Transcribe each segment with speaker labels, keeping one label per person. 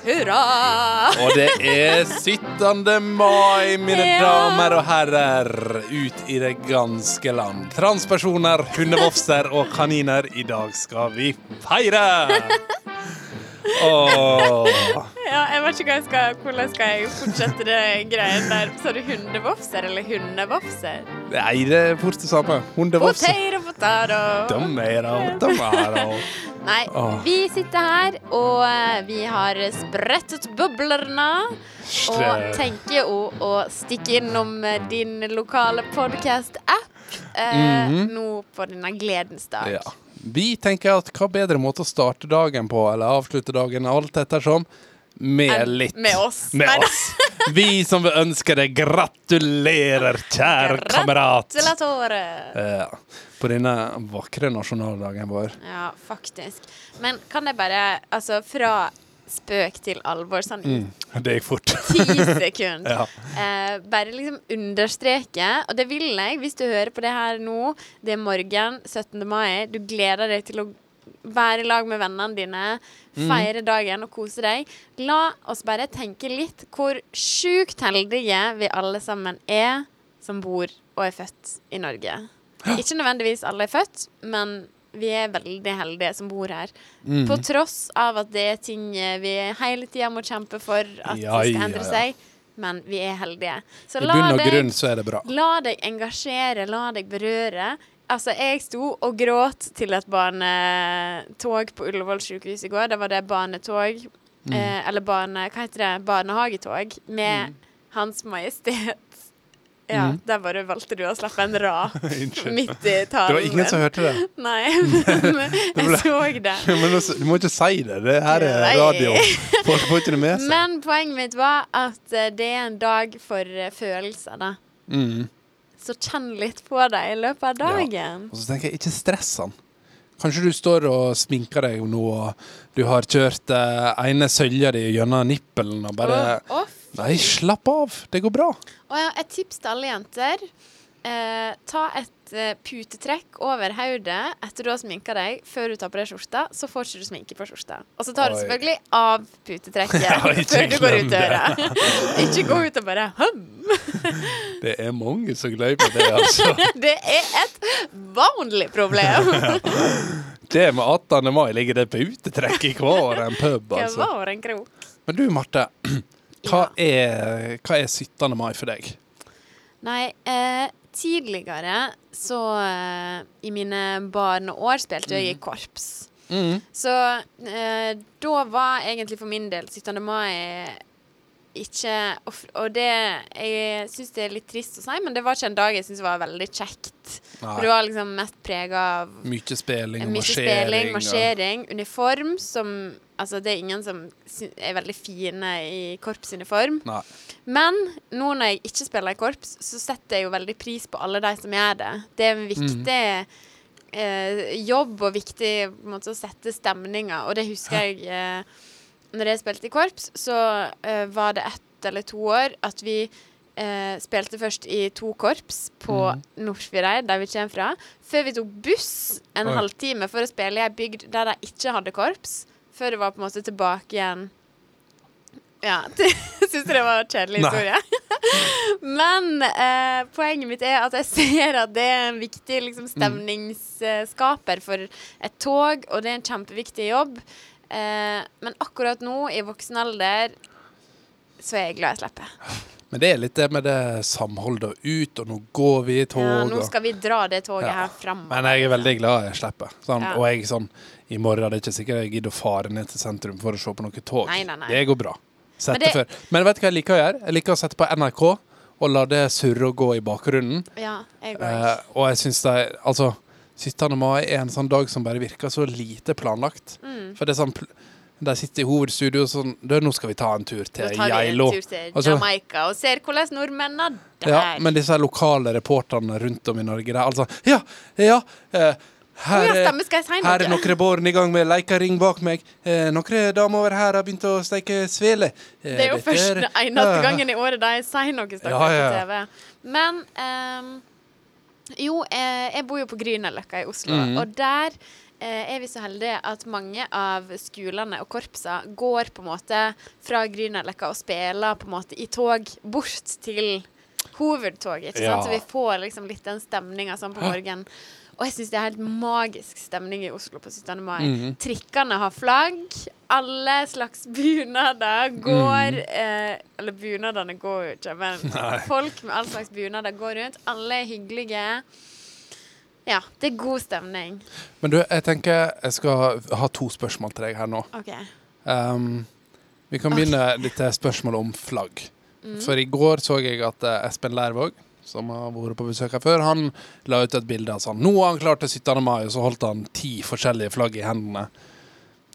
Speaker 1: Hurra!
Speaker 2: Og det er 17. mai, mine
Speaker 1: Ja.
Speaker 2: damer og herrer, ut i det ganske land. Transpersoner, hundevofser og kaniner, i dag skal vi feire! Åh.
Speaker 1: Ja, jeg vet ikke hva jeg skal, hvordan skal jeg fortsette det greien der. Sa du hundevofser eller hundevofser?
Speaker 2: Nei, det er fort det samme. Hundevofser.
Speaker 1: Potato, potato.
Speaker 2: Domero, domero.
Speaker 1: Nei,
Speaker 2: Åh.
Speaker 1: vi sitter her, og eh, vi har sprettet boblerne. Og tenker jo å stikke innom eh, din lokale podkast-app eh, nå på denne gledens dag.
Speaker 2: Mhm. Ja. Vi tenker at hva bedre måte å starte dagen på, eller avslutte dagen, alt ettersom, med
Speaker 1: Enn
Speaker 2: litt
Speaker 1: med oss.
Speaker 2: Med
Speaker 1: Nei da.
Speaker 2: oss. Vi som vil ønske deg gratulerer, kjære kamerat!
Speaker 1: Gratulatore.
Speaker 2: Ja. På denne vakre nasjonaldagen vår.
Speaker 1: Ja, faktisk. Men kan jeg bare, altså fra spøk til alvor, sånn i
Speaker 2: Det gikk fort.
Speaker 1: ti sekunder,
Speaker 2: Mm. Ja.
Speaker 1: eh, bare liksom understreke, og det vil jeg hvis du hører på det her nå, det er morgen 17. mai, du gleder deg til å være i lag med vennene dine, feire dagen og kose deg. La oss bare tenke litt hvor sjukt heldige vi alle sammen er som bor og er født i Norge. Ikke nødvendigvis alle er født, men vi er veldig heldige som bor her.
Speaker 2: Mm.
Speaker 1: På tross av at det er ting eh, vi hele tida må kjempe for
Speaker 2: Ja,
Speaker 1: at det
Speaker 2: ja,
Speaker 1: skal endre
Speaker 2: ja.
Speaker 1: seg, men vi er heldige. Så
Speaker 2: I
Speaker 1: la
Speaker 2: bunn og
Speaker 1: deg
Speaker 2: grunn så er det bra.
Speaker 1: La deg engasjere, la deg berøre. Altså, jeg sto og gråt til et barnetog på Ullevål sykehus i går. Da var det barnetog,
Speaker 2: Mm.
Speaker 1: eh, eller barne, hva heter det, barnehagetog med Hans Majestet. Ja,
Speaker 2: Mm.
Speaker 1: der bare valgte du å slappe en rap
Speaker 2: Unnskyld.
Speaker 1: midt i talen
Speaker 2: Det var ingen som hørte det.
Speaker 1: Nei, men jeg så det.
Speaker 2: Men altså, du må ikke si det. Det her er
Speaker 1: Nei.
Speaker 2: radio. Folk får ikke det med seg.
Speaker 1: Men poenget mitt var at eh, det er en dag for eh, følelser, da.
Speaker 2: Mm.
Speaker 1: Så kjenn litt på det i løpet av
Speaker 2: Ja.
Speaker 1: dagen.
Speaker 2: Og så tenker jeg, ikke stress han. Kanskje du står og sminker deg nå, og du har kjørt eh, ene sølja di gjennom nippelen og bare
Speaker 1: Å, å, f-
Speaker 2: Nei, slapp av. Det går bra.
Speaker 1: Og ja, et tips til alle jenter. Eh, ta et eh, putetrekk over hodet etter du har sminka deg, før du tar på deg skjorta. Så får ikke du sminke på skjorta. Og så tar du
Speaker 2: Oi.
Speaker 1: selvfølgelig av putetrekket
Speaker 2: Ja, ikke
Speaker 1: før du går
Speaker 2: glem
Speaker 1: ut
Speaker 2: det.
Speaker 1: døra. ikke gå ut og bare «Hm,
Speaker 2: Det er mange som glemmer det, altså.
Speaker 1: Det er et vanlig problem!
Speaker 2: Det med 18. mai ligger det på utetrekk i hver en pub,
Speaker 1: Hva
Speaker 2: altså.
Speaker 1: var en krok?
Speaker 2: Men du, Marte. Hva er, hva er 17. mai for deg?
Speaker 1: Nei, eh, tidligere så eh, I mine barneår spilte jeg
Speaker 2: Mm.
Speaker 1: i korps. Så eh, da var egentlig for min del 17. mai ikke off- Og det Jeg syns det er litt trist å si, men det var ikke en dag jeg syntes var veldig kjekt. For det
Speaker 2: Nei.
Speaker 1: var liksom mest prega av
Speaker 2: Mye spilling og
Speaker 1: mye
Speaker 2: marsjering.
Speaker 1: spilling,
Speaker 2: og-
Speaker 1: marsjering, uniform som Altså, det er ingen som sy- er veldig fine i korpsuniform.
Speaker 2: Nei.
Speaker 1: Men nå når jeg ikke spiller i korps, så setter jeg jo veldig pris på alle de som gjør det. Det er en viktig eh, jobb og viktig på en måte, å sette stemninga, og det husker jeg eh, Når jeg spilte i korps, så eh, var det ett eller to år at vi eh, spilte først i to korps på Nordfjordeid, der vi kommer fra, før vi tok buss en
Speaker 2: Oi.
Speaker 1: halvtime for å spille i ei bygd der de ikke hadde korps, før det var på en måte tilbake igjen ja, syns det var en kjedelig
Speaker 2: Nei.
Speaker 1: historie. Men eh, poenget mitt er at jeg ser at det er en viktig liksom,
Speaker 2: Mm.
Speaker 1: stemningsskaper for et tog, og det er en kjempeviktig jobb. Eh, men akkurat nå, i voksen alder, så er jeg glad jeg slipper.
Speaker 2: Men det er litt det med det samholdet og ut, og nå går vi i tog.
Speaker 1: Ja, nå
Speaker 2: og-
Speaker 1: skal vi dra det toget
Speaker 2: Ja.
Speaker 1: her framover.
Speaker 2: Men jeg er veldig glad jeg slipper. Sånn,
Speaker 1: Ja.
Speaker 2: Og jeg sånn, i morgen er det ikke sikkert jeg gidder å fare ned til sentrum for å se på noe tog.
Speaker 1: Nei, nei, nei.
Speaker 2: Det går bra. Sette
Speaker 1: Men det-
Speaker 2: før. Men vet du hva jeg liker å gjøre? Jeg liker å sette på NRK og la det surre og gå i bakgrunnen.
Speaker 1: Ja, jeg
Speaker 2: Eh,
Speaker 1: òg.
Speaker 2: og jeg syns det er Altså, 17. mai er en sånn dag som bare virker så lite planlagt.
Speaker 1: Mm.
Speaker 2: For det er sånn pl- De sitter i hovedstudio og sånn «Du, Nå skal vi ta en tur
Speaker 1: Nå
Speaker 2: til
Speaker 1: tar vi en
Speaker 2: Geilo.
Speaker 1: tur til
Speaker 2: Altså-
Speaker 1: Jamaica og ser hvordan nordmennene der
Speaker 2: Ja, men disse lokale reporterne rundt om i Norge, det er altså Ja, ja. eh,
Speaker 1: Å ja,
Speaker 2: her, er-
Speaker 1: stemmer, skal jeg si
Speaker 2: her er
Speaker 1: noe?
Speaker 2: noen barn i gang med leikering bak meg. Eh, noen damer over her har begynt å steke svele. Eh,
Speaker 1: Det er jo
Speaker 2: dette
Speaker 1: først den eneste
Speaker 2: Ja.
Speaker 1: gangen i året de sier noe stakkars
Speaker 2: Ja, ja, ja.
Speaker 1: på TV. Men
Speaker 2: Mhm.
Speaker 1: ehm, jo, eh, jeg bor jo på Grünerløkka i Oslo, og der eh, er vi så heldige at mange av skolene og korpsa går på en måte fra Grünerløkka og spiller på en måte i tog bort til hovedtoget. Ikke
Speaker 2: Ja.
Speaker 1: sant? Så vi får liksom litt den stemninga sånn på morgenen. Og jeg syns det er helt magisk stemning i Oslo på 17. mai. Trikkene har flagg. Alle slags bunader går eh, Eller bunadene går jo ikke, men folk med all slags bunader går rundt. Alle er hyggelige. Ja, det er god stemning.
Speaker 2: Men du, jeg tenker jeg skal ha to spørsmål til deg her nå.
Speaker 1: OK.
Speaker 2: Ehm, vi
Speaker 1: Ah.
Speaker 2: kan begynne litt til spørsmålet om flagg.
Speaker 1: Mm.
Speaker 2: For i går så jeg at eh, Espen Lærvåg, som har vært på besøk her før, han la ut et bilde av sånn Nå har han klart det 17. mai, og så holdt han ti forskjellige flagg i hendene.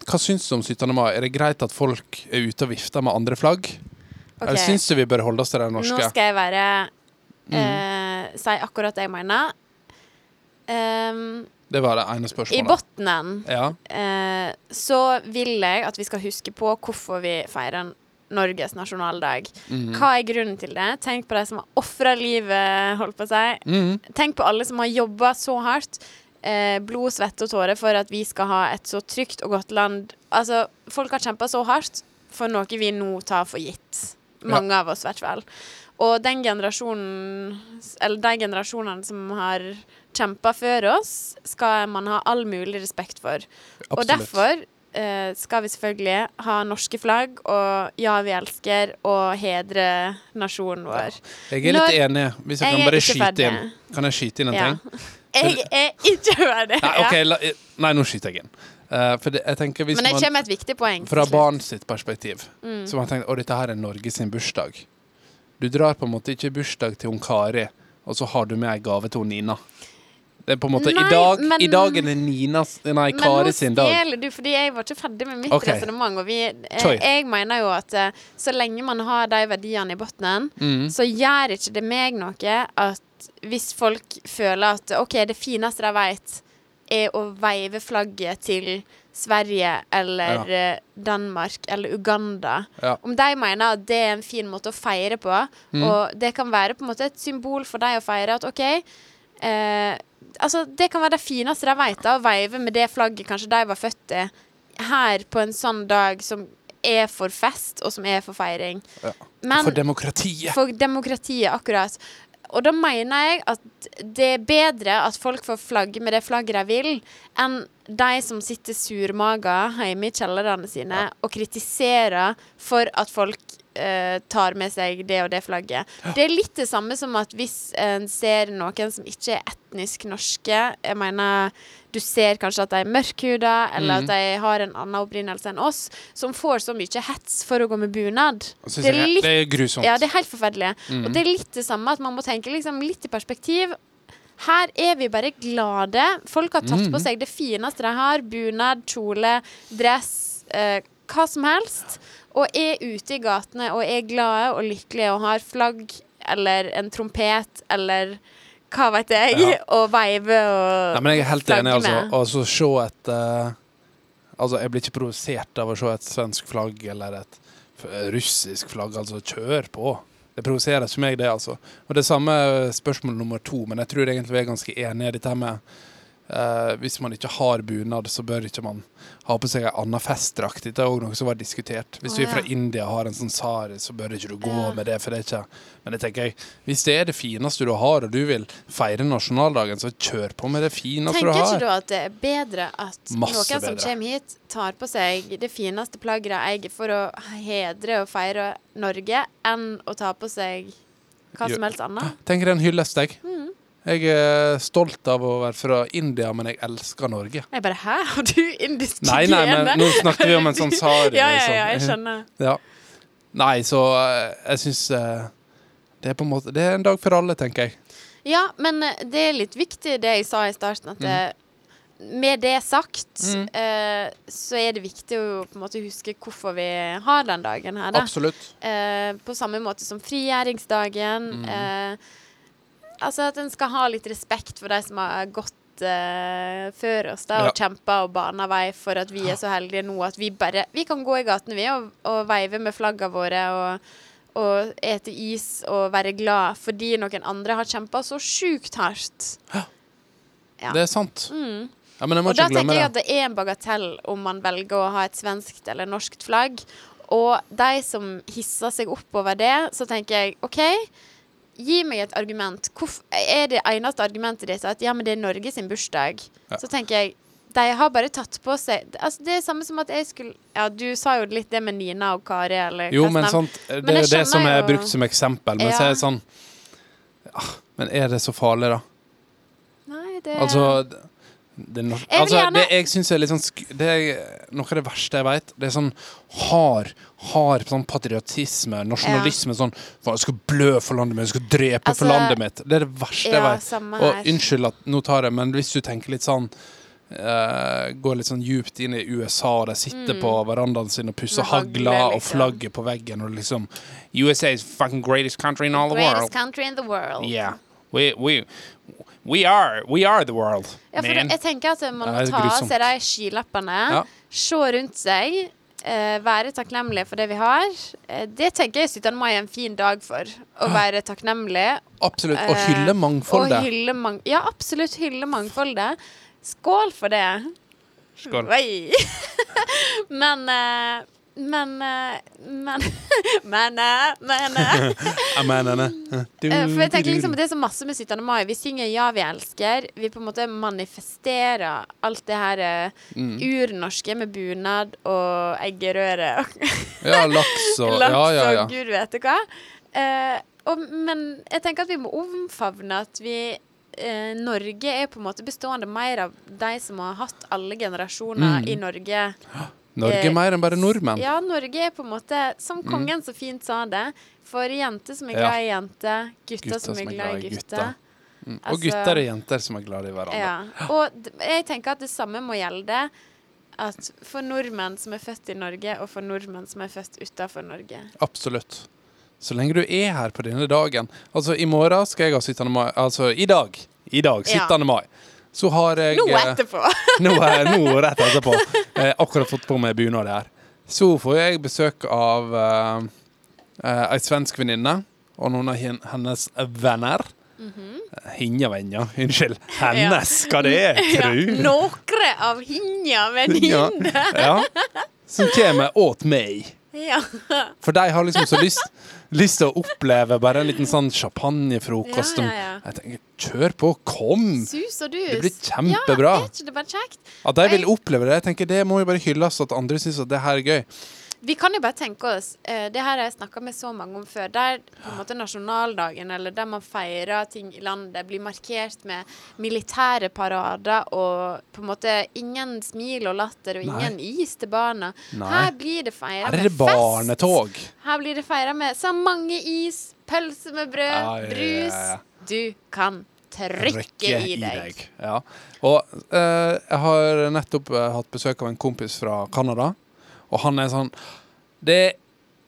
Speaker 2: Hva syns du om 17. mai? Er det greit at folk er ute og vifter med andre flagg?
Speaker 1: Ok.
Speaker 2: Eller syns du vi bør holde oss til det norske? Mm,
Speaker 1: Nå skal jeg være
Speaker 2: Mhm.
Speaker 1: eh, Si akkurat det jeg mener. Ehm,
Speaker 2: Det var det ene
Speaker 1: I
Speaker 2: spørsmålet.
Speaker 1: bunnen
Speaker 2: Ja.
Speaker 1: eh, så vil jeg at vi skal huske på hvorfor vi feirer Norges nasjonaldag.
Speaker 2: mm.
Speaker 1: Hva er grunnen til det? Tenk på de som har ofra livet, holdt på å si.
Speaker 2: Mhm.
Speaker 1: Tenk på alle som har jobba så hardt. Eh, blod, svette og tårer for at vi skal ha et så trygt og godt land. Altså, folk har kjempa så hardt for noe vi nå tar for gitt. Mange av oss, i hvert fall. Og den generasjonen, eller de generasjonene som har kjempa før oss, skal man ha all mulig respekt for. Og
Speaker 2: Absolutt.
Speaker 1: derfor eh, skal vi selvfølgelig ha norske flagg og ja, vi elsker og hedre nasjonen vår.
Speaker 2: Jeg er litt
Speaker 1: Når-
Speaker 2: enig, hvis jeg,
Speaker 1: Jeg
Speaker 2: kan
Speaker 1: er
Speaker 2: bare
Speaker 1: ikke
Speaker 2: skyte
Speaker 1: ferdig.
Speaker 2: inn. Kan jeg skyte inn en
Speaker 1: Ja.
Speaker 2: ting?
Speaker 1: Jeg er ikke ferdig.
Speaker 2: Nei,
Speaker 1: ja.
Speaker 2: ok, la, nei nå skyter jeg inn. Eh, for det, jeg tenker hvis
Speaker 1: Men jeg
Speaker 2: man,
Speaker 1: kommer med et viktig poeng.
Speaker 2: Fra
Speaker 1: til slutt. Mm.
Speaker 2: barn sitt perspektiv, så man tenker at dette her er Norge sin bursdag. Du drar på en måte ikke bursdag til hun Kari, og så har du med ei gave til hun Nina. Det er på en måte,
Speaker 1: Nei,
Speaker 2: I dag,
Speaker 1: men-
Speaker 2: i dag er det Ninas, nei, Kari sin
Speaker 1: Men nå
Speaker 2: dag.
Speaker 1: stjeler du, fordi jeg var ikke ferdig med mitt
Speaker 2: Ok.
Speaker 1: resonnement. Og vi, eh,
Speaker 2: Sorry.
Speaker 1: jeg mener jo at eh, så lenge man har de verdiene i bunnen,
Speaker 2: Mm.
Speaker 1: så gjør ikke det meg noe at hvis folk føler at OK, det fineste de vet, er å veive flagget til Sverige eller
Speaker 2: Ja.
Speaker 1: eh, Danmark eller Uganda.
Speaker 2: Ja. Mm.
Speaker 1: Om de mener at det er en fin måte å feire på, og det kan være på en måte et symbol for dem å feire at OK eh, Altså, det kan være det fineste de vet, da, å veive med det flagget kanskje de var født i, her på en sånn dag som er for fest, og som er for feiring.
Speaker 2: Ja.
Speaker 1: Men
Speaker 2: For demokratiet.
Speaker 1: for demokratiet, akkurat. Og da mener jeg at det er bedre at folk får flagge med det flagget de vil, enn de som sitter surmaga hjemme i kjellerne sine og kritiserer for at folk eh, tar med seg det og det flagget. Det er litt det samme som at hvis en ser noen som ikke er etnisk norske Jeg mener, du ser kanskje at de er mørkhuda, eller at de har en annen opprinnelse enn oss, som får så mye hets for å gå med bunad.
Speaker 2: Synes jeg, det er grusomt.
Speaker 1: Ja, det er helt forferdelig. Og det er litt det samme at man må tenke liksom, litt i perspektiv. Her er vi bare glade. Folk har
Speaker 2: Mm.
Speaker 1: tatt på seg det fineste de har. Bunad, kjole, dress, eh, hva som helst. Og er ute i gatene og er glade og lykkelige og har flagg eller en trompet eller hva vet jeg,
Speaker 2: Ja.
Speaker 1: og veive og
Speaker 2: Nei, men jeg er helt enig, altså.
Speaker 1: flagge med.
Speaker 2: Altså, se et eh, Altså, jeg blir ikke provosert av å se et svensk flagg eller et f- eh, russisk flagg. Altså, kjør på. Det provoserer ikke meg, det, altså. Og det samme er spørsmål nummer to, men jeg tror egentlig vi er ganske enige i dette her med eh, hvis man ikke har bunad, så bør ikke man ha på seg en annen festdrakt. Dette er òg noe som var diskutert. Hvis
Speaker 1: Å,
Speaker 2: du er fra
Speaker 1: ja.
Speaker 2: India og har en sånn sari, så bør ikke du gå
Speaker 1: Ja.
Speaker 2: med det. for det er ikke... Men jeg tenker, hvis det er det fineste du har, og du vil feire nasjonaldagen, så kjør på med det fineste
Speaker 1: Tenker
Speaker 2: du har.
Speaker 1: ikke du at det er bedre at
Speaker 2: Masse
Speaker 1: noen som
Speaker 2: bedre.
Speaker 1: kommer hit, tar på seg det fineste plagget de eier for å hedre og feire Norge, enn å ta på seg hva
Speaker 2: Jo.
Speaker 1: som helst annet?
Speaker 2: Tenker en hyllest, jeg.
Speaker 1: Mm.
Speaker 2: Jeg er stolt av å være fra India, men jeg elsker Norge.
Speaker 1: Jeg bare Hæ, har du indisk
Speaker 2: Nei, nei, men nå snakker vi om en sånn sari.
Speaker 1: Ja, ja, ja, jeg
Speaker 2: liksom.
Speaker 1: skjønner.
Speaker 2: Ja. Nei, så eh, jeg syns eh, det er på en måte Det er en dag for alle, tenker jeg.
Speaker 1: Ja, men eh, det er litt viktig det jeg sa i starten,
Speaker 2: Mm.
Speaker 1: at eh, med det sagt, eh, så er det viktig å på en måte huske hvorfor vi har den dagen her, da.
Speaker 2: Absolutt.
Speaker 1: Eh, på samme måte som frigjøringsdagen. Eh, altså at en skal ha litt respekt for de som har gått eh, før oss da, og kjempa og bana vei for at vi er så heldige nå at vi bare Vi kan gå i gatene, vi, og, og veive med flagga våre. og og ete is og være glad fordi noen andre har kjempa så sjukt hardt. Ja. Mm.
Speaker 2: Det er sant. Ja, men jeg må
Speaker 1: Og da
Speaker 2: ikke glemme
Speaker 1: tenker jeg
Speaker 2: det.
Speaker 1: at det er en bagatell om man velger å ha et svenskt eller norskt flagg. Og de som hisser seg opp over det, så tenker jeg OK, gi meg et argument. Hvorf er det eneste argumentet ditt at ja, men det er Norge sin bursdag?
Speaker 2: Ja.
Speaker 1: Så tenker jeg de har bare tatt på seg altså, Det er samme som at jeg skulle Ja, du sa jo litt det med Nina og Kari, eller
Speaker 2: Jo,
Speaker 1: hva
Speaker 2: men sånn-
Speaker 1: som-
Speaker 2: sant, eh, det
Speaker 1: Men
Speaker 2: er
Speaker 1: jeg
Speaker 2: jo det
Speaker 1: skjønner
Speaker 2: som er
Speaker 1: jo-
Speaker 2: brukt som eksempel. Men
Speaker 1: Ja.
Speaker 2: så er det sånn ah, Men er det så farlig, da?
Speaker 1: Nei, det
Speaker 2: Altså det, det, er no-
Speaker 1: vil
Speaker 2: altså,
Speaker 1: gjerne-
Speaker 2: det jeg syns er litt sånn sk det er Noe av det verste jeg veit, det er sånn hard, hard sånn patriotisme, nasjonalisme. Sånn "Faen, 'Jeg skal blø for landet mitt, jeg skal drepe
Speaker 1: Altså,
Speaker 2: for landet mitt'. Det er det verste jeg
Speaker 1: Ja,
Speaker 2: veit.
Speaker 1: samme her.
Speaker 2: Og unnskyld at nå tar jeg, men hvis du tenker litt sånn eh, går litt sånn djupt inn i USA, og de sitter på verandaen sin og pusser
Speaker 1: Mm. Med hagle,
Speaker 2: hagler og
Speaker 1: liksom.
Speaker 2: flagget på veggen, og liksom USA is fucking greatest country in all the
Speaker 1: Greatest
Speaker 2: world.
Speaker 1: country in the world.
Speaker 2: Yeah. We, we, we, are, we are the world,
Speaker 1: Ja, for
Speaker 2: man.
Speaker 1: det, jeg tenker at man må
Speaker 2: Nei, det er
Speaker 1: ta av
Speaker 2: grusomt.
Speaker 1: seg de skilappene,
Speaker 2: Ja.
Speaker 1: se rundt seg, eh, være takknemlige for det vi har. Eh, det tenker jeg 17. mai er en fin dag for. Å være takknemlig.
Speaker 2: Absolutt. Og
Speaker 1: eh,
Speaker 2: hylle mangfoldet.
Speaker 1: Og hylle mang ja, absolutt hylle mangfoldet. Skål for det.
Speaker 2: Skål.
Speaker 1: Oi. men eh, men eh, men men, eh, men eh. Eh, For jeg tenker liksom at Det er så masse med 17. mai. Vi synger 'Ja, vi elsker'. Vi på en måte manifesterer alt det her eh,
Speaker 2: Mm.
Speaker 1: urnorske med bunad og eggerøre og
Speaker 2: Ja, laks og
Speaker 1: laks
Speaker 2: Ja, ja, ja.
Speaker 1: og gud vet hva. Eh, og, men jeg tenker at vi må omfavne at vi eh, Norge er på en måte bestående mer av de som har hatt alle generasjoner i Norge.
Speaker 2: Norge er mer enn bare nordmenn.
Speaker 1: Ja, Norge er på en måte, som kongen så fint sa det, for jenter som er
Speaker 2: Ja.
Speaker 1: glad i jenter, gutter, som er glad i gutter.
Speaker 2: Mm.
Speaker 1: Altså-
Speaker 2: Og gutter og jenter som er glad i hverandre.
Speaker 1: Ja. Og d- jeg tenker at det samme må gjelde at for nordmenn som er født i Norge, og for nordmenn som er født utenfor Norge.
Speaker 2: Absolutt. Så lenge du er her på denne dagen Altså, i morgen skal jeg ha 17. mai Altså, i dag. I dag, 17.
Speaker 1: Ja.
Speaker 2: mai. Så har jeg
Speaker 1: Nå
Speaker 2: eh,
Speaker 1: etterpå!
Speaker 2: nå, er- nå rett etterpå. Jeg har akkurat fått på meg bunad her. Så får jeg besøk av uh, ei svensk venninne og noen av hen- hennes venner. Hinja venner. Unnskyld. Hennes, hva det er,
Speaker 1: Mhm. Ja,
Speaker 2: tru?
Speaker 1: Noen av hinja venninne!
Speaker 2: Ja. ja. Som kommer åt meg.
Speaker 1: Ja.
Speaker 2: For de har liksom så lyst Lyst til å oppleve bare en liten sånn champagnefrokost.
Speaker 1: Ja, ja, ja.
Speaker 2: Jeg tenker, kjør på, kom!
Speaker 1: Sus og dus.
Speaker 2: Det blir kjempebra.
Speaker 1: Ja, er ikke det bare kjekt?
Speaker 2: At de vil
Speaker 1: Jeg-
Speaker 2: oppleve det, jeg tenker det må jo bare hylles at andre syns at det her er gøy.
Speaker 1: Vi kan jo bare tenke oss eh, Det her har jeg snakka med så mange om før. Der på en måte nasjonaldagen, eller der man feirer ting i landet, blir markert med militære parader og på en måte ingen smil og latter og ingen is til barna.
Speaker 2: Nei.
Speaker 1: Her blir det feira
Speaker 2: Her
Speaker 1: med
Speaker 2: er det barnetog.
Speaker 1: fest. Her blir det feira med så mange is, pølse med brød,
Speaker 2: Ja, ja, ja, ja.
Speaker 1: brus Du kan trykke, i deg.
Speaker 2: Ja. Og eh, jeg har nettopp eh, hatt besøk av en kompis fra Canada, og han er sånn Det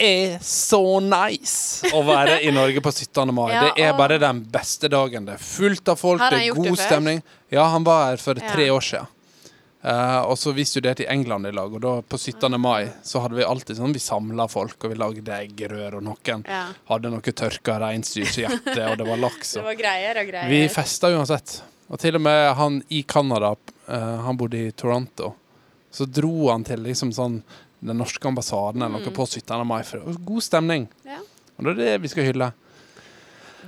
Speaker 2: er så nice å være i Norge på 17. mai.
Speaker 1: Ja,
Speaker 2: det er
Speaker 1: og-
Speaker 2: bare den beste dagen. Det er fullt av folk,
Speaker 1: Har
Speaker 2: det
Speaker 1: han
Speaker 2: er
Speaker 1: gjort det
Speaker 2: god
Speaker 1: før?
Speaker 2: stemning. Ja, han var her for
Speaker 1: Ja.
Speaker 2: tre år siden. Eh, og så vi studerte i England i lag, og da på 17. mai så hadde vi alltid sånn Vi samla folk, og vi lagde eggerør, og noen
Speaker 1: Ja.
Speaker 2: hadde noe tørka reinsdyrhjerte, og det var laks.
Speaker 1: Det
Speaker 2: Og
Speaker 1: var greier og greier.
Speaker 2: vi festa uansett. Og til og med han i Canada, eh, han bodde i Toronto, så dro han til liksom sånn den norske ambassaden eller noe på 17. mai. For det var god stemning.
Speaker 1: Mm. ja.
Speaker 2: Og det er det vi skal hylle.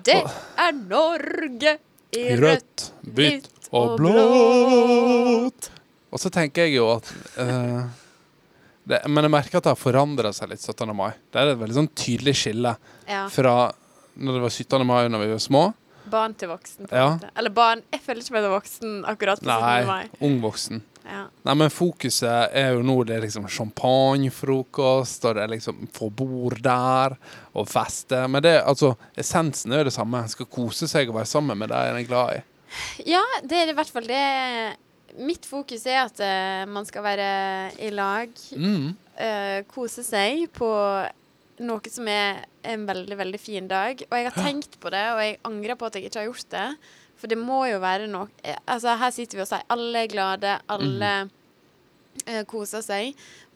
Speaker 1: Det er Norge i rødt,
Speaker 2: Rødt, hvitt og blått.
Speaker 1: blått.
Speaker 2: Og så tenker jeg jo at eh, det, Men jeg merker at det har forandra seg litt 17. mai. Det er et veldig sånn tydelig skille
Speaker 1: Ja.
Speaker 2: fra når det var 17. mai da vi var små.
Speaker 1: Barn til voksen. På en
Speaker 2: Ja.
Speaker 1: måte. Eller barn Jeg føler ikke meg som voksen akkurat på 17.
Speaker 2: Nei,
Speaker 1: mai.
Speaker 2: ung voksen.
Speaker 1: Ja.
Speaker 2: Nei, men fokuset er jo nå det er liksom champagnefrokost, og det er liksom få bord der, og feste. Men det, altså, essensen er jo det samme. En skal kose seg og være sammen med de en er glad i.
Speaker 1: ja, det er i hvert fall det Mitt fokus er at eh, man skal være i lag,
Speaker 2: Mm.
Speaker 1: eh, kose seg på noe som er en veldig, veldig fin dag. Og jeg har tenkt på det, og jeg angrer på at jeg ikke har gjort det.
Speaker 2: Mhm.
Speaker 1: For det må jo være noe eh, Altså, her sitter vi og sier alle er glade, alle eh, koser seg.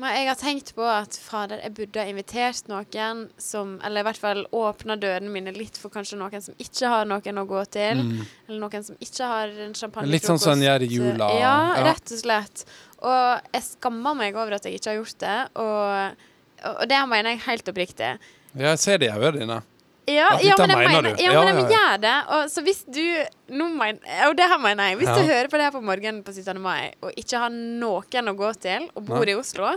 Speaker 1: Men jeg har tenkt på at fader, jeg burde ha invitert noen som Eller i hvert fall åpna dørene mine litt for kanskje noen som ikke har noen å gå til.
Speaker 2: Mm.
Speaker 1: Eller noen som ikke har en champagne
Speaker 2: Litt sånn som en gjør i jula.
Speaker 1: Ja,
Speaker 2: Ja.
Speaker 1: rett og slett. Og jeg skammer meg over at jeg ikke har gjort det. Og, og og det mener jeg helt oppriktig.
Speaker 2: Ja, jeg ser det i øynene dine.
Speaker 1: Ja,
Speaker 2: At
Speaker 1: ja,
Speaker 2: dette
Speaker 1: men jeg
Speaker 2: mener
Speaker 1: mener,
Speaker 2: du.
Speaker 1: ja,
Speaker 2: Ja,
Speaker 1: men
Speaker 2: ja,
Speaker 1: jeg
Speaker 2: ja.
Speaker 1: gjør det. Og, så hvis du nå men, Og det her mener jeg. Hvis
Speaker 2: Ja.
Speaker 1: du hører på det her på morgenen på 17. mai og ikke har noen å gå til, og bor
Speaker 2: Nei.
Speaker 1: i Oslo,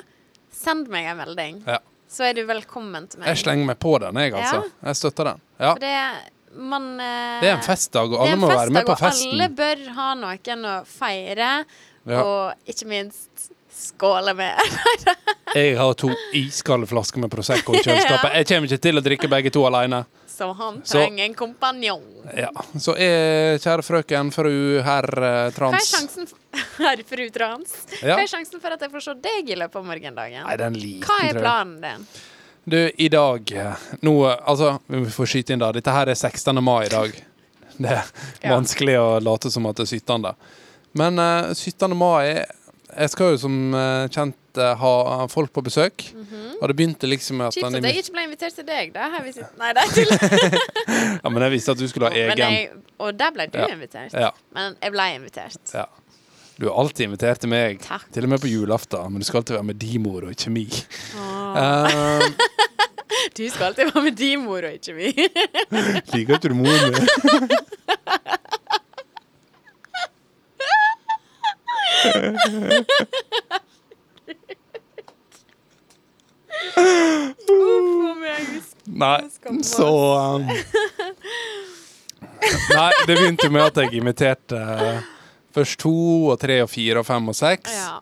Speaker 1: send meg en melding.
Speaker 2: Ja.
Speaker 1: Så er du velkommen til meg.
Speaker 2: Jeg slenger meg på den, jeg, altså. Jeg støtter den. Ja.
Speaker 1: For det man eh,
Speaker 2: Det er en festdag, og
Speaker 1: det er
Speaker 2: alle
Speaker 1: en
Speaker 2: må være med
Speaker 1: festdag,
Speaker 2: på
Speaker 1: og Alle
Speaker 2: festen.
Speaker 1: bør ha noen å feire,
Speaker 2: Ja.
Speaker 1: og ikke minst skåle med.
Speaker 2: Jeg har to iskalde flasker med Prosecco i kjøleskapet. Jeg kommer ikke til å drikke begge to alene.
Speaker 1: Så han
Speaker 2: Så-
Speaker 1: trenger en kompanjong.
Speaker 2: Ja. Så eh, kjære frøken, fru, herr eh,
Speaker 1: Hva er
Speaker 2: Trans
Speaker 1: sjansen for, Herr fru Trans?
Speaker 2: Ja.
Speaker 1: Hva er sjansen for at jeg får se deg i løpet av morgendagen?
Speaker 2: Nei, det er en liten,
Speaker 1: Hva er
Speaker 2: tror jeg.
Speaker 1: planen din?
Speaker 2: Du, i dag eh, Nå, eh, altså, vi får skyte inn da. Dette her er 16. mai i dag. Det er
Speaker 1: Ja.
Speaker 2: vanskelig å late som at det er 17. Men eh, 17. mai Jeg skal jo som eh, kjent eh, ha folk på besøk.
Speaker 1: Mhm.
Speaker 2: Og det begynte liksom med at
Speaker 1: Kjipt
Speaker 2: han
Speaker 1: at jeg ikke ble invitert til deg, da. Her vi sitter. Nei, det er til
Speaker 2: Ja, men jeg visste at du skulle ha
Speaker 1: Men
Speaker 2: egen.
Speaker 1: jeg, Og der ble du
Speaker 2: Ja.
Speaker 1: invitert.
Speaker 2: Ja,
Speaker 1: Men jeg ble invitert.
Speaker 2: ja. Du er alltid invitert til meg.
Speaker 1: Takk.
Speaker 2: Til og med på julaften. Men du skal alltid være med dimor og ikke mi.
Speaker 1: Åh,
Speaker 2: Eh,
Speaker 1: Du skal alltid være med din mor og ikke vi.
Speaker 2: Liker ikke du moren min?
Speaker 1: Uff, men jeg husker-
Speaker 2: Nei,
Speaker 1: Skal
Speaker 2: så um, Nei, det begynte med at jeg inviterte eh, først to og tre og fire og fem og seks.
Speaker 1: Ja.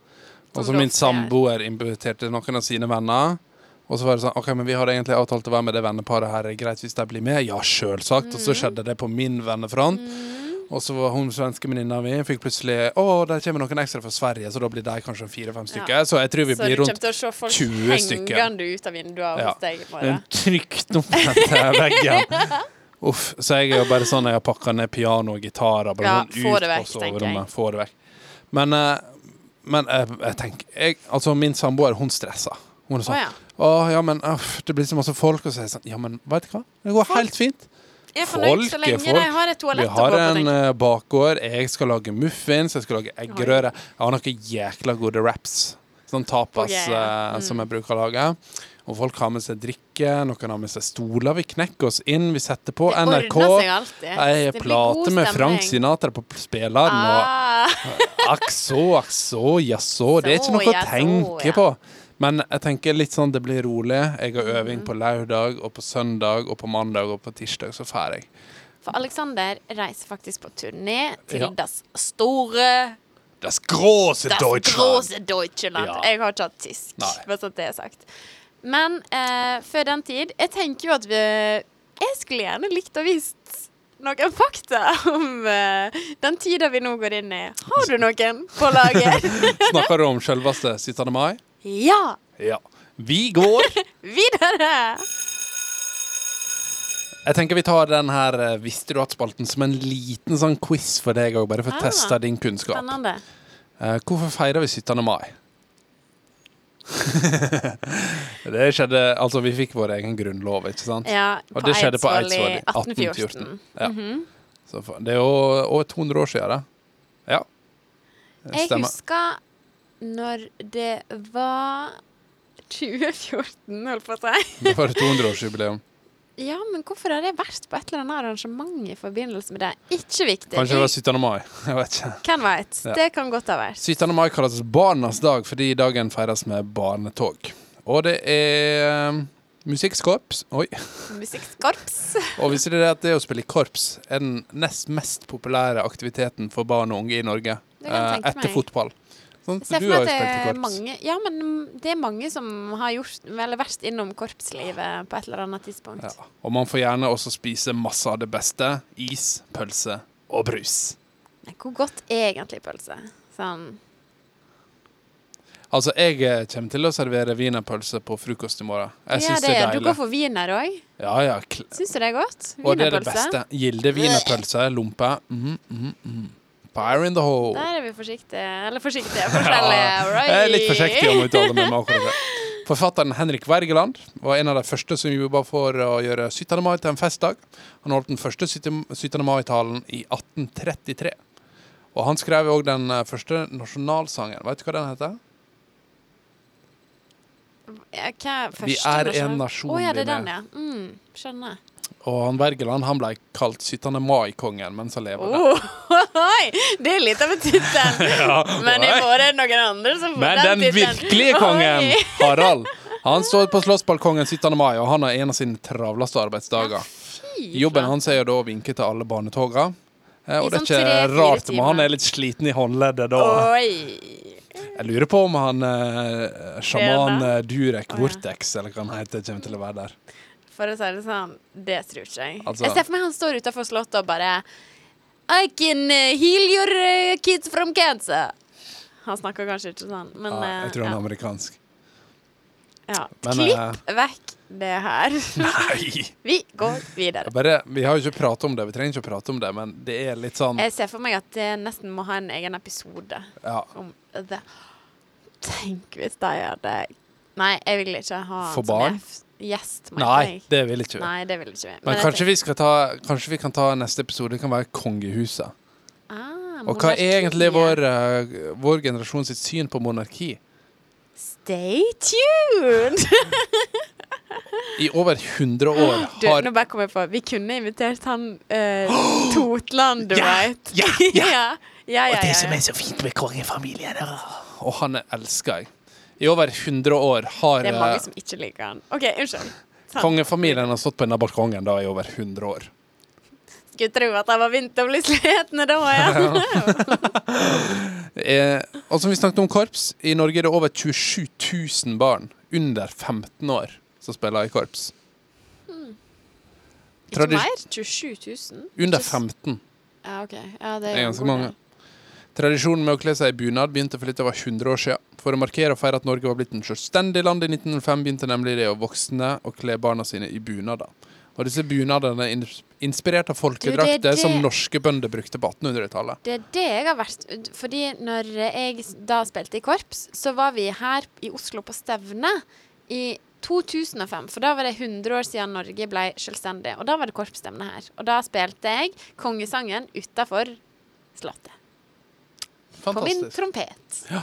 Speaker 2: og så
Speaker 1: som det
Speaker 2: min
Speaker 1: ofte er.
Speaker 2: samboer inviterte noen av sine venner. Og så var det sånn OK, men vi hadde egentlig avtalt å være med det venneparet her. Er det greit hvis de blir med? Ja, sjølsagt. Og
Speaker 1: Mm.
Speaker 2: så skjedde det på min vennefront. Og så var hun svenske venninna mi fikk plutselig Å, der kommer noen ekstra fra Sverige, så da blir de kanskje fire-fem stykker.
Speaker 1: Ja.
Speaker 2: Så jeg tror vi
Speaker 1: Så du
Speaker 2: blir rundt
Speaker 1: kommer til å se folk
Speaker 2: 20 stykker.
Speaker 1: hengende ut av vinduet
Speaker 2: Ja.
Speaker 1: hos deg i
Speaker 2: Den
Speaker 1: morgen.
Speaker 2: trykt opp etter veggen. Uff, så jeg er jo bare sånn jeg har pakka ned piano og gitarer. Bare
Speaker 1: Ja,
Speaker 2: sånn
Speaker 1: få
Speaker 2: ut
Speaker 1: det vekk,
Speaker 2: på
Speaker 1: tenker
Speaker 2: soverommet. Få det vekk. Men, eh, men eh, jeg tenker jeg, Altså, min samboer, hun stressa. Hun er
Speaker 1: Å
Speaker 2: sånn
Speaker 1: ja.
Speaker 2: Å, ja, men uff, det blir så masse folk. Og så er jeg sånn Ja, men veit du hva? Det går helt fint.
Speaker 1: Jeg er fornøyd så
Speaker 2: Folk er
Speaker 1: lenge
Speaker 2: folk.
Speaker 1: de har et
Speaker 2: Vi
Speaker 1: toalett å gå
Speaker 2: har
Speaker 1: på.
Speaker 2: en
Speaker 1: tenker jeg.
Speaker 2: eh, bakgård. Jeg skal lage muffins. Jeg skal lage eggerøre. Jeg har noen jækla gode wraps. Sånn tapas
Speaker 1: Ok, ja.
Speaker 2: eh, som
Speaker 1: Mm.
Speaker 2: jeg bruker å lage. Og folk har med seg drikke. Noen har med seg stoler. Vi knekker oss inn. Vi setter på
Speaker 1: Det
Speaker 2: eh, NRK.
Speaker 1: ordner seg alltid.
Speaker 2: Jeg
Speaker 1: Det blir god
Speaker 2: plater med Frank
Speaker 1: stemning.
Speaker 2: Sinatra på p- spilleren.
Speaker 1: Ah.
Speaker 2: Og akk så, akk så, jaså. Det er
Speaker 1: Så,
Speaker 2: ikke noe å
Speaker 1: jaså, ja.
Speaker 2: tenke på. Men jeg tenker litt sånn det blir rolig. Jeg har øving
Speaker 1: Mm-hmm.
Speaker 2: på lørdag og på søndag og på mandag og på tirsdag, så drar jeg.
Speaker 1: For Alexander reiser faktisk på turné til
Speaker 2: Ja.
Speaker 1: das store
Speaker 2: Das große
Speaker 1: Das
Speaker 2: Deutschland!
Speaker 1: große Deutschland.
Speaker 2: Ja.
Speaker 1: Jeg har ikke hatt tysk,
Speaker 2: Nei.
Speaker 1: bare så det er sagt. Men eh, før den tid Jeg tenker jo at vi Jeg skulle gjerne likt å vist noen fakta om eh, den tida vi nå går inn i. Har du noen på lager?
Speaker 2: Snakker du om selveste 17. mai?
Speaker 1: ja!
Speaker 2: Ja. Vi går.
Speaker 1: Videre!
Speaker 2: Jeg tenker vi tar den her eh, Visste du at-spalten som en liten sånn quiz for deg òg, bare for å
Speaker 1: Ah,
Speaker 2: teste din kunnskap.
Speaker 1: Spennende.
Speaker 2: Eh, hvorfor feirer vi 17. mai? det skjedde Altså, vi fikk vår egen grunnlov, ikke sant?
Speaker 1: Ja,
Speaker 2: Og
Speaker 1: på
Speaker 2: det skjedde på
Speaker 1: Eidsvoll i
Speaker 2: Eidsvoll i
Speaker 1: 1814.
Speaker 2: 1814. Ja. Så fa- det er jo over 200 år siden, det. Ja. Det
Speaker 1: Jeg
Speaker 2: stemmer.
Speaker 1: husker når det var 2014, holdt på å si.
Speaker 2: Det var 200-årsjubileum.
Speaker 1: Ja, men hvorfor har jeg vært på et eller annet arrangement i forbindelse med det? Ikke viktig.
Speaker 2: Kanskje det var 17. mai. Jeg vet ikke.
Speaker 1: Hvem vet?
Speaker 2: Ja.
Speaker 1: Det kan godt ha vært.
Speaker 2: 17. mai kalles barnas dag fordi dagen feires med barnetog. Og det er um, musikkorps. Oi.
Speaker 1: Musikkorps.
Speaker 2: Og visste dere at det å spille i korps er den nest mest populære aktiviteten for barn og unge i Norge?
Speaker 1: Det kan jeg
Speaker 2: eh,
Speaker 1: tenke
Speaker 2: etter
Speaker 1: meg.
Speaker 2: fotball. Sånn,
Speaker 1: Jeg ser
Speaker 2: du
Speaker 1: for meg
Speaker 2: har jo
Speaker 1: at det
Speaker 2: spilt i
Speaker 1: er
Speaker 2: korps.
Speaker 1: mange Ja, men det er mange som har gjort Eller vært innom korpslivet på et eller annet tidspunkt.
Speaker 2: Ja. Og man får gjerne også spise masse av det beste. Is, pølse og brus.
Speaker 1: Men Hvor godt er egentlig pølse? Sånn
Speaker 2: Altså, jeg eh, kommer til å servere wienerpølse på frokost i morgen. Jeg
Speaker 1: Ja,
Speaker 2: syns
Speaker 1: det
Speaker 2: det
Speaker 1: er-
Speaker 2: er
Speaker 1: Du går
Speaker 2: deilig.
Speaker 1: for wiener òg?
Speaker 2: Ja, ja, kl-
Speaker 1: Syns du det er godt?
Speaker 2: og det er det
Speaker 1: Wienerpølse?
Speaker 2: beste. Gilde wienerpølse, lompe. Mhm, mhm, mhm. Fire in the hole.
Speaker 1: Der er vi forsiktige. Eller forsiktige, forskjellige. Right.
Speaker 2: Jeg er litt forsiktig om å uttale meg om akkurat det. Forfatteren Henrik Wergeland var en av de første som jobba for å gjøre 17. mai til en festdag. Han holdt den første 17. 17. mai-talen i 1833. Og han skrev òg den eh, første nasjonalsangen. Vet du hva den heter?
Speaker 1: Ja, hva er første
Speaker 2: Vi er en
Speaker 1: nasjonal-
Speaker 2: nasjon,
Speaker 1: Å ja, det er
Speaker 2: Line.
Speaker 1: den, ja. Mm, skjønner.
Speaker 2: Og han Wergeland han ble kalt 17. mai-kongen mens han levde.
Speaker 1: Oh, oi, det er litt av en tittel. Men i
Speaker 2: oi.
Speaker 1: morgen er det noen andre som får
Speaker 2: Men
Speaker 1: den,
Speaker 2: den
Speaker 1: tittelen.
Speaker 2: virkelige kongen,
Speaker 1: Oi.
Speaker 2: Harald, han står på Slottsbalkongen 17. mai, og han har en av sine travleste arbeidsdager. Jobben hans er jo da å vinke til alle barnetoga. Eh, Og
Speaker 1: I
Speaker 2: det er
Speaker 1: sånn
Speaker 2: ikke
Speaker 1: tre-fire
Speaker 2: rart, men han
Speaker 1: timer.
Speaker 2: er litt sliten i håndleddet da.
Speaker 1: Oi.
Speaker 2: Jeg lurer på om han eh, sjaman eh, Durek
Speaker 1: Å, ja.
Speaker 2: Vortex, eller hva han heter, kommer til å være der.
Speaker 1: For å si det sånn, det tror ikke jeg.
Speaker 2: Altså-
Speaker 1: jeg ser for meg han står utenfor slottet og bare I can eh, heal your eh, kids from cancer. Han snakker kanskje ikke sånn, men
Speaker 2: Ja,
Speaker 1: eh,
Speaker 2: jeg tror han
Speaker 1: ja.
Speaker 2: er amerikansk.
Speaker 1: Ja.
Speaker 2: Men, eh,
Speaker 1: Klipp vekk det her.
Speaker 2: Nei!
Speaker 1: Vi går videre.
Speaker 2: Bare, vi har jo ikke pratet om det, vi trenger ikke å prate om det, men det er litt sånn
Speaker 1: Jeg ser for meg at det nesten må ha en egen episode
Speaker 2: ja,
Speaker 1: om det. Tenk hvis de hadde Nei, jeg vil ikke ha han
Speaker 2: For
Speaker 1: som
Speaker 2: barn?
Speaker 1: gjest- Gjest, mener
Speaker 2: Nei,
Speaker 1: jeg.
Speaker 2: det vil ikke vi.
Speaker 1: Nei, det vil ikke vi.
Speaker 2: Men kanskje vi, skal ta, kanskje vi kan ta neste episode. Det kan være kongehuset.
Speaker 1: ah,
Speaker 2: Og hva er egentlig
Speaker 1: monarkiet.
Speaker 2: vår, eh, vår generasjon sitt syn på monarki?
Speaker 1: Stay tuned!
Speaker 2: I over 100 år
Speaker 1: Du,
Speaker 2: har
Speaker 1: nå bare kom jeg på Vi kunne invitert han eh, Totland, du
Speaker 2: Ja,
Speaker 1: veit.
Speaker 2: ja,
Speaker 1: ja. ja, ja, ja, ja.
Speaker 2: så fint med kongefamilien Og han er elsker jeg. I over 100 år har
Speaker 1: Det er mange
Speaker 2: eh,
Speaker 1: som ikke liker han. OK, unnskyld. Sant.
Speaker 2: kongefamilien har stått på denne balkongen da i over 100 år.
Speaker 1: Skulle tro at han var begynt å bli sliten da igjen.
Speaker 2: Eh, og som vi snakket om korps, i Norge er det over 27 000 barn under 15 år som spiller i korps.
Speaker 1: Ikke
Speaker 2: Tradi-
Speaker 1: mer? 27 000?
Speaker 2: Under
Speaker 1: Just-
Speaker 2: 15.
Speaker 1: Ja, ok. Ja, det
Speaker 2: Det er
Speaker 1: jo
Speaker 2: ganske
Speaker 1: god
Speaker 2: mange.
Speaker 1: del.
Speaker 2: Tradisjonen med å kle seg i bunad begynte for litt over 100 år siden. For å markere og feire at Norge var blitt en selvstendig land i 1905, begynte nemlig det å voksne å kle barna sine i bunader. Og disse bunadene er ins- inspirert av folkedrakter
Speaker 1: Du, det er det-
Speaker 2: som norske bønder brukte på 1800-tallet.
Speaker 1: Det er det jeg har vært. Fordi når jeg s- da spilte i korps, så var vi her i Oslo på stevne i 2005. For da var det 100 år siden Norge ble selvstendig. Og da var det korpsstevne her. Og da spilte jeg kongesangen utafor Slottet. På min
Speaker 2: Fantastisk.
Speaker 1: trompet.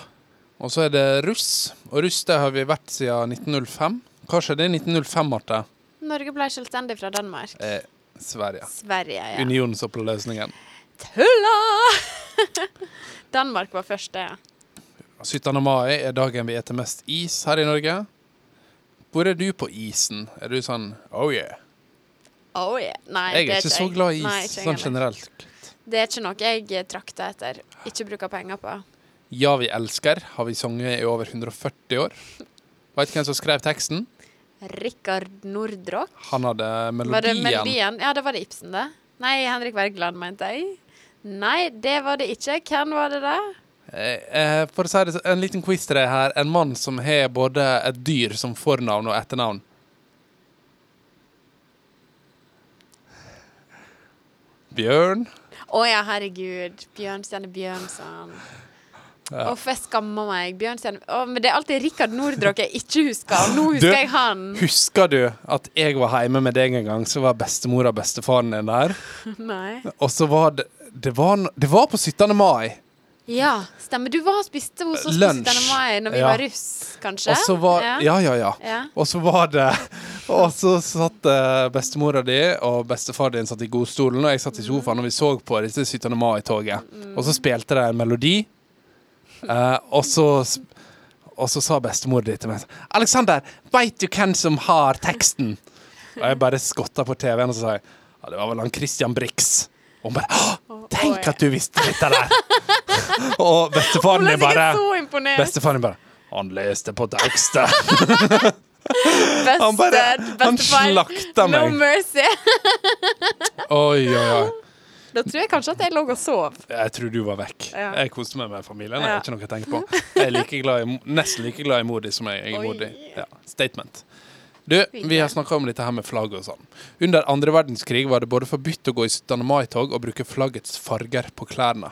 Speaker 2: Og så er det russ. Og russ det har vi vært siden 1905. Hva skjedde i 1905, Marte?
Speaker 1: Norge ble selvstendig fra Danmark.
Speaker 2: Eh, Sverige.
Speaker 1: Sverige, ja.
Speaker 2: Unionsoppløsningen.
Speaker 1: Tulla! Danmark var først, det. ja.
Speaker 2: 17. mai er dagen vi eter mest is her i Norge. Hvor er du på isen? Er du sånn oh yeah?
Speaker 1: Oh, yeah. Nei,
Speaker 2: Jeg
Speaker 1: det
Speaker 2: er ikke så glad i
Speaker 1: Nei,
Speaker 2: is,
Speaker 1: ikke jeg
Speaker 2: sånn
Speaker 1: heller.
Speaker 2: generelt.
Speaker 1: Det er ikke noe jeg trakter etter. Ikke bruker penger på.
Speaker 2: Ja, vi elsker har vi sunget i over 140 år. Veit hvem som skrev teksten?
Speaker 1: Rikard Nordrock.
Speaker 2: Han hadde
Speaker 1: Var det
Speaker 2: melodien.
Speaker 1: melodien? Ja, det var det Ibsen, det. Nei, Henrik Wergeland, mente jeg. Nei, det var det ikke. Hvem var det, da?
Speaker 2: Eh, eh, for å si det så- en liten quiz til deg her. En mann som har både et dyr som fornavn og etternavn. Bjørn.
Speaker 1: Å ja, herregud. Bjørnstjerne Bjørnson.
Speaker 2: Ja.
Speaker 1: Uff, jeg skammer meg. Bjørnstjerne Å, Men det er alltid Rikard Nordrock jeg ikke husker. Nå
Speaker 2: Du-
Speaker 1: husker jeg han.
Speaker 2: Husker du at jeg var hjemme med deg en gang, så var bestemor og bestefaren din der?
Speaker 1: Nei.
Speaker 2: Og så var det Det var, n- det var på 17. mai,
Speaker 1: Ja, stemmer. Du var og spiste hos oss på
Speaker 2: Lunsj.
Speaker 1: 17. mai når vi
Speaker 2: Ja.
Speaker 1: var russ, kanskje?
Speaker 2: og så var Ja, ja, ja.
Speaker 1: ja.
Speaker 2: Og så var det Og så satt eh, bestemora di og bestefar din satt i godstolen, og jeg satt i sofaen, og vi så på disse 17. mai-toget.
Speaker 1: Mm.
Speaker 2: Og så spilte de en melodi, eh, og så sp- og så sa bestemor di til meg 'Aleksander, veit du hvem som har teksten?' Og jeg bare skotta på TV-en og så sa jeg, ja, 'Det var vel han Christian Brix'. Og hun bare 'Å, tenk at du visste dette der'. og bestefaren
Speaker 1: Ble
Speaker 2: din
Speaker 1: sikkert
Speaker 2: bare
Speaker 1: så imponert.
Speaker 2: Bestefaren din bare 'Han leste på tekstet'.
Speaker 1: Best,
Speaker 2: Han bare- han slakta
Speaker 1: No
Speaker 2: meg.
Speaker 1: mercy.
Speaker 2: Oi, oi, oi.
Speaker 1: Da tror jeg kanskje at jeg lå og sov.
Speaker 2: Jeg tror du var vekk.
Speaker 1: Ja.
Speaker 2: Jeg koste meg med familien. Jeg
Speaker 1: Ja.
Speaker 2: har ikke noe å tenke på. Jeg er like glad i, nesten like glad i mor di som jeg er i mor di.
Speaker 1: Oi.
Speaker 2: Ja. Statement. Du, vi har snakka om dette her med flagg og sånn. Under andre verdenskrig var det både forbudt å gå i 17. mai-tog og bruke flaggets farger på klærne.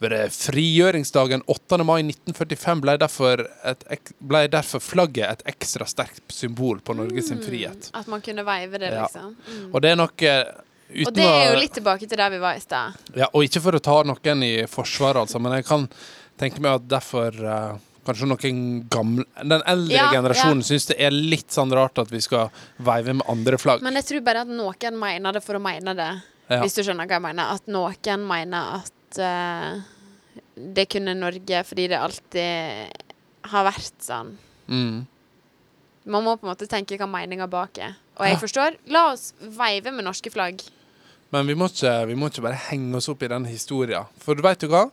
Speaker 2: Ved eh, frigjøringsdagen 8. mai 1945 ble derfor, et, ek- ble derfor flagget et ekstra sterkt symbol på Norges
Speaker 1: Mm.
Speaker 2: frihet.
Speaker 1: At man kunne veive det,
Speaker 2: Ja.
Speaker 1: liksom. Mm.
Speaker 2: Og det er nok eh, uten
Speaker 1: Og det er jo
Speaker 2: å-
Speaker 1: litt tilbake til der vi var i stad.
Speaker 2: Ja, og ikke for å ta noen i forsvar, altså, men jeg kan tenke meg at derfor eh, Kanskje noen gamle Den eldre
Speaker 1: Ja,
Speaker 2: generasjonen
Speaker 1: ja.
Speaker 2: syns det er litt sånn rart at vi skal veive med andre flagg.
Speaker 1: Men jeg tror bare at noen mener det for å mene det,
Speaker 2: Ja.
Speaker 1: hvis du skjønner hva jeg mener. At noen mener at eh, det kunne Norge fordi det alltid har vært sånn.
Speaker 2: Mm.
Speaker 1: Man må på en måte tenke hva meninga bak er. Og jeg
Speaker 2: Ja.
Speaker 1: forstår. La oss veive med norske flagg.
Speaker 2: Men vi må, ikke, vi må ikke bare henge oss opp i den historien. For du vet du hva?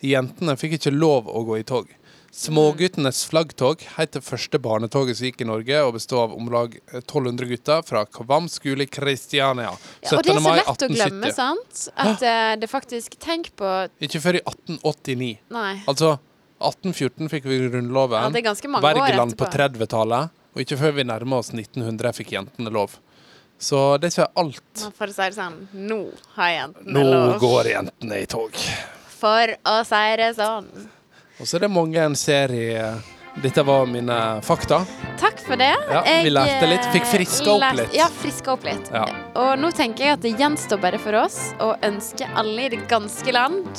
Speaker 2: Jentene fikk ikke lov å gå i tog. Småguttenes flaggtog het det første barnetoget som gikk i Norge, og bestod av om lag 1200 gutter fra Kvam skole i Kristiania.
Speaker 1: Ja, og det
Speaker 2: 17.
Speaker 1: er så
Speaker 2: mai
Speaker 1: lett å glemme,
Speaker 2: 1870.
Speaker 1: sant? At eh, det faktisk Tenk på
Speaker 2: Ikke før i 1889.
Speaker 1: Nei.
Speaker 2: Altså, 1814 fikk vi
Speaker 1: Ja,
Speaker 2: grunnloven.
Speaker 1: det er ganske mange år
Speaker 2: Bergeland på
Speaker 1: etterpå.
Speaker 2: 30-tallet. Og ikke før vi nærmer oss 1900 fikk jentene lov. Så det er ikke alt.
Speaker 1: Man får si det sånn Nå har jentene
Speaker 2: Nå
Speaker 1: lov.
Speaker 2: går jentene i tog.
Speaker 1: For å si det sånn.
Speaker 2: Og så er det mange en ser i eh, Dette var mine fakta.
Speaker 1: Takk for det.
Speaker 2: Ja, vi lærte litt. Fikk
Speaker 1: eh,
Speaker 2: friska opp
Speaker 1: lærte-
Speaker 2: litt.
Speaker 1: Ja, friska opp litt.
Speaker 2: Ja.
Speaker 1: Og nå tenker jeg at det gjenstår bare for oss å ønske alle i det ganske land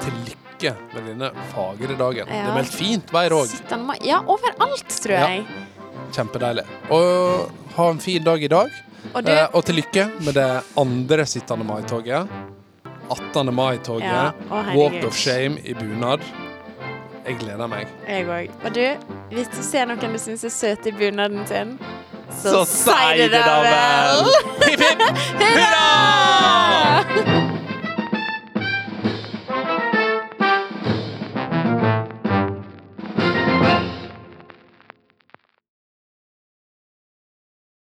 Speaker 2: Til lykke med denne fagre dagen. Det
Speaker 1: Ja.
Speaker 2: er meldt fint vær òg.
Speaker 1: Sittende mai- Ja, overalt, tror
Speaker 2: Ja.
Speaker 1: jeg.
Speaker 2: Kjempedeilig. Og ha en fin dag i dag.
Speaker 1: Og du,
Speaker 2: Eh, og til lykke med det andre 17. mai-toget. 18. mai-toget.
Speaker 1: Ja, å, herregud.
Speaker 2: Walk of shame i bunad. Jeg gleder meg.
Speaker 1: jeg òg. Og du, hvis du ser noen du syns er søte i bunaden sin,
Speaker 2: Så si det da vel! Hipp, hipp, hurra!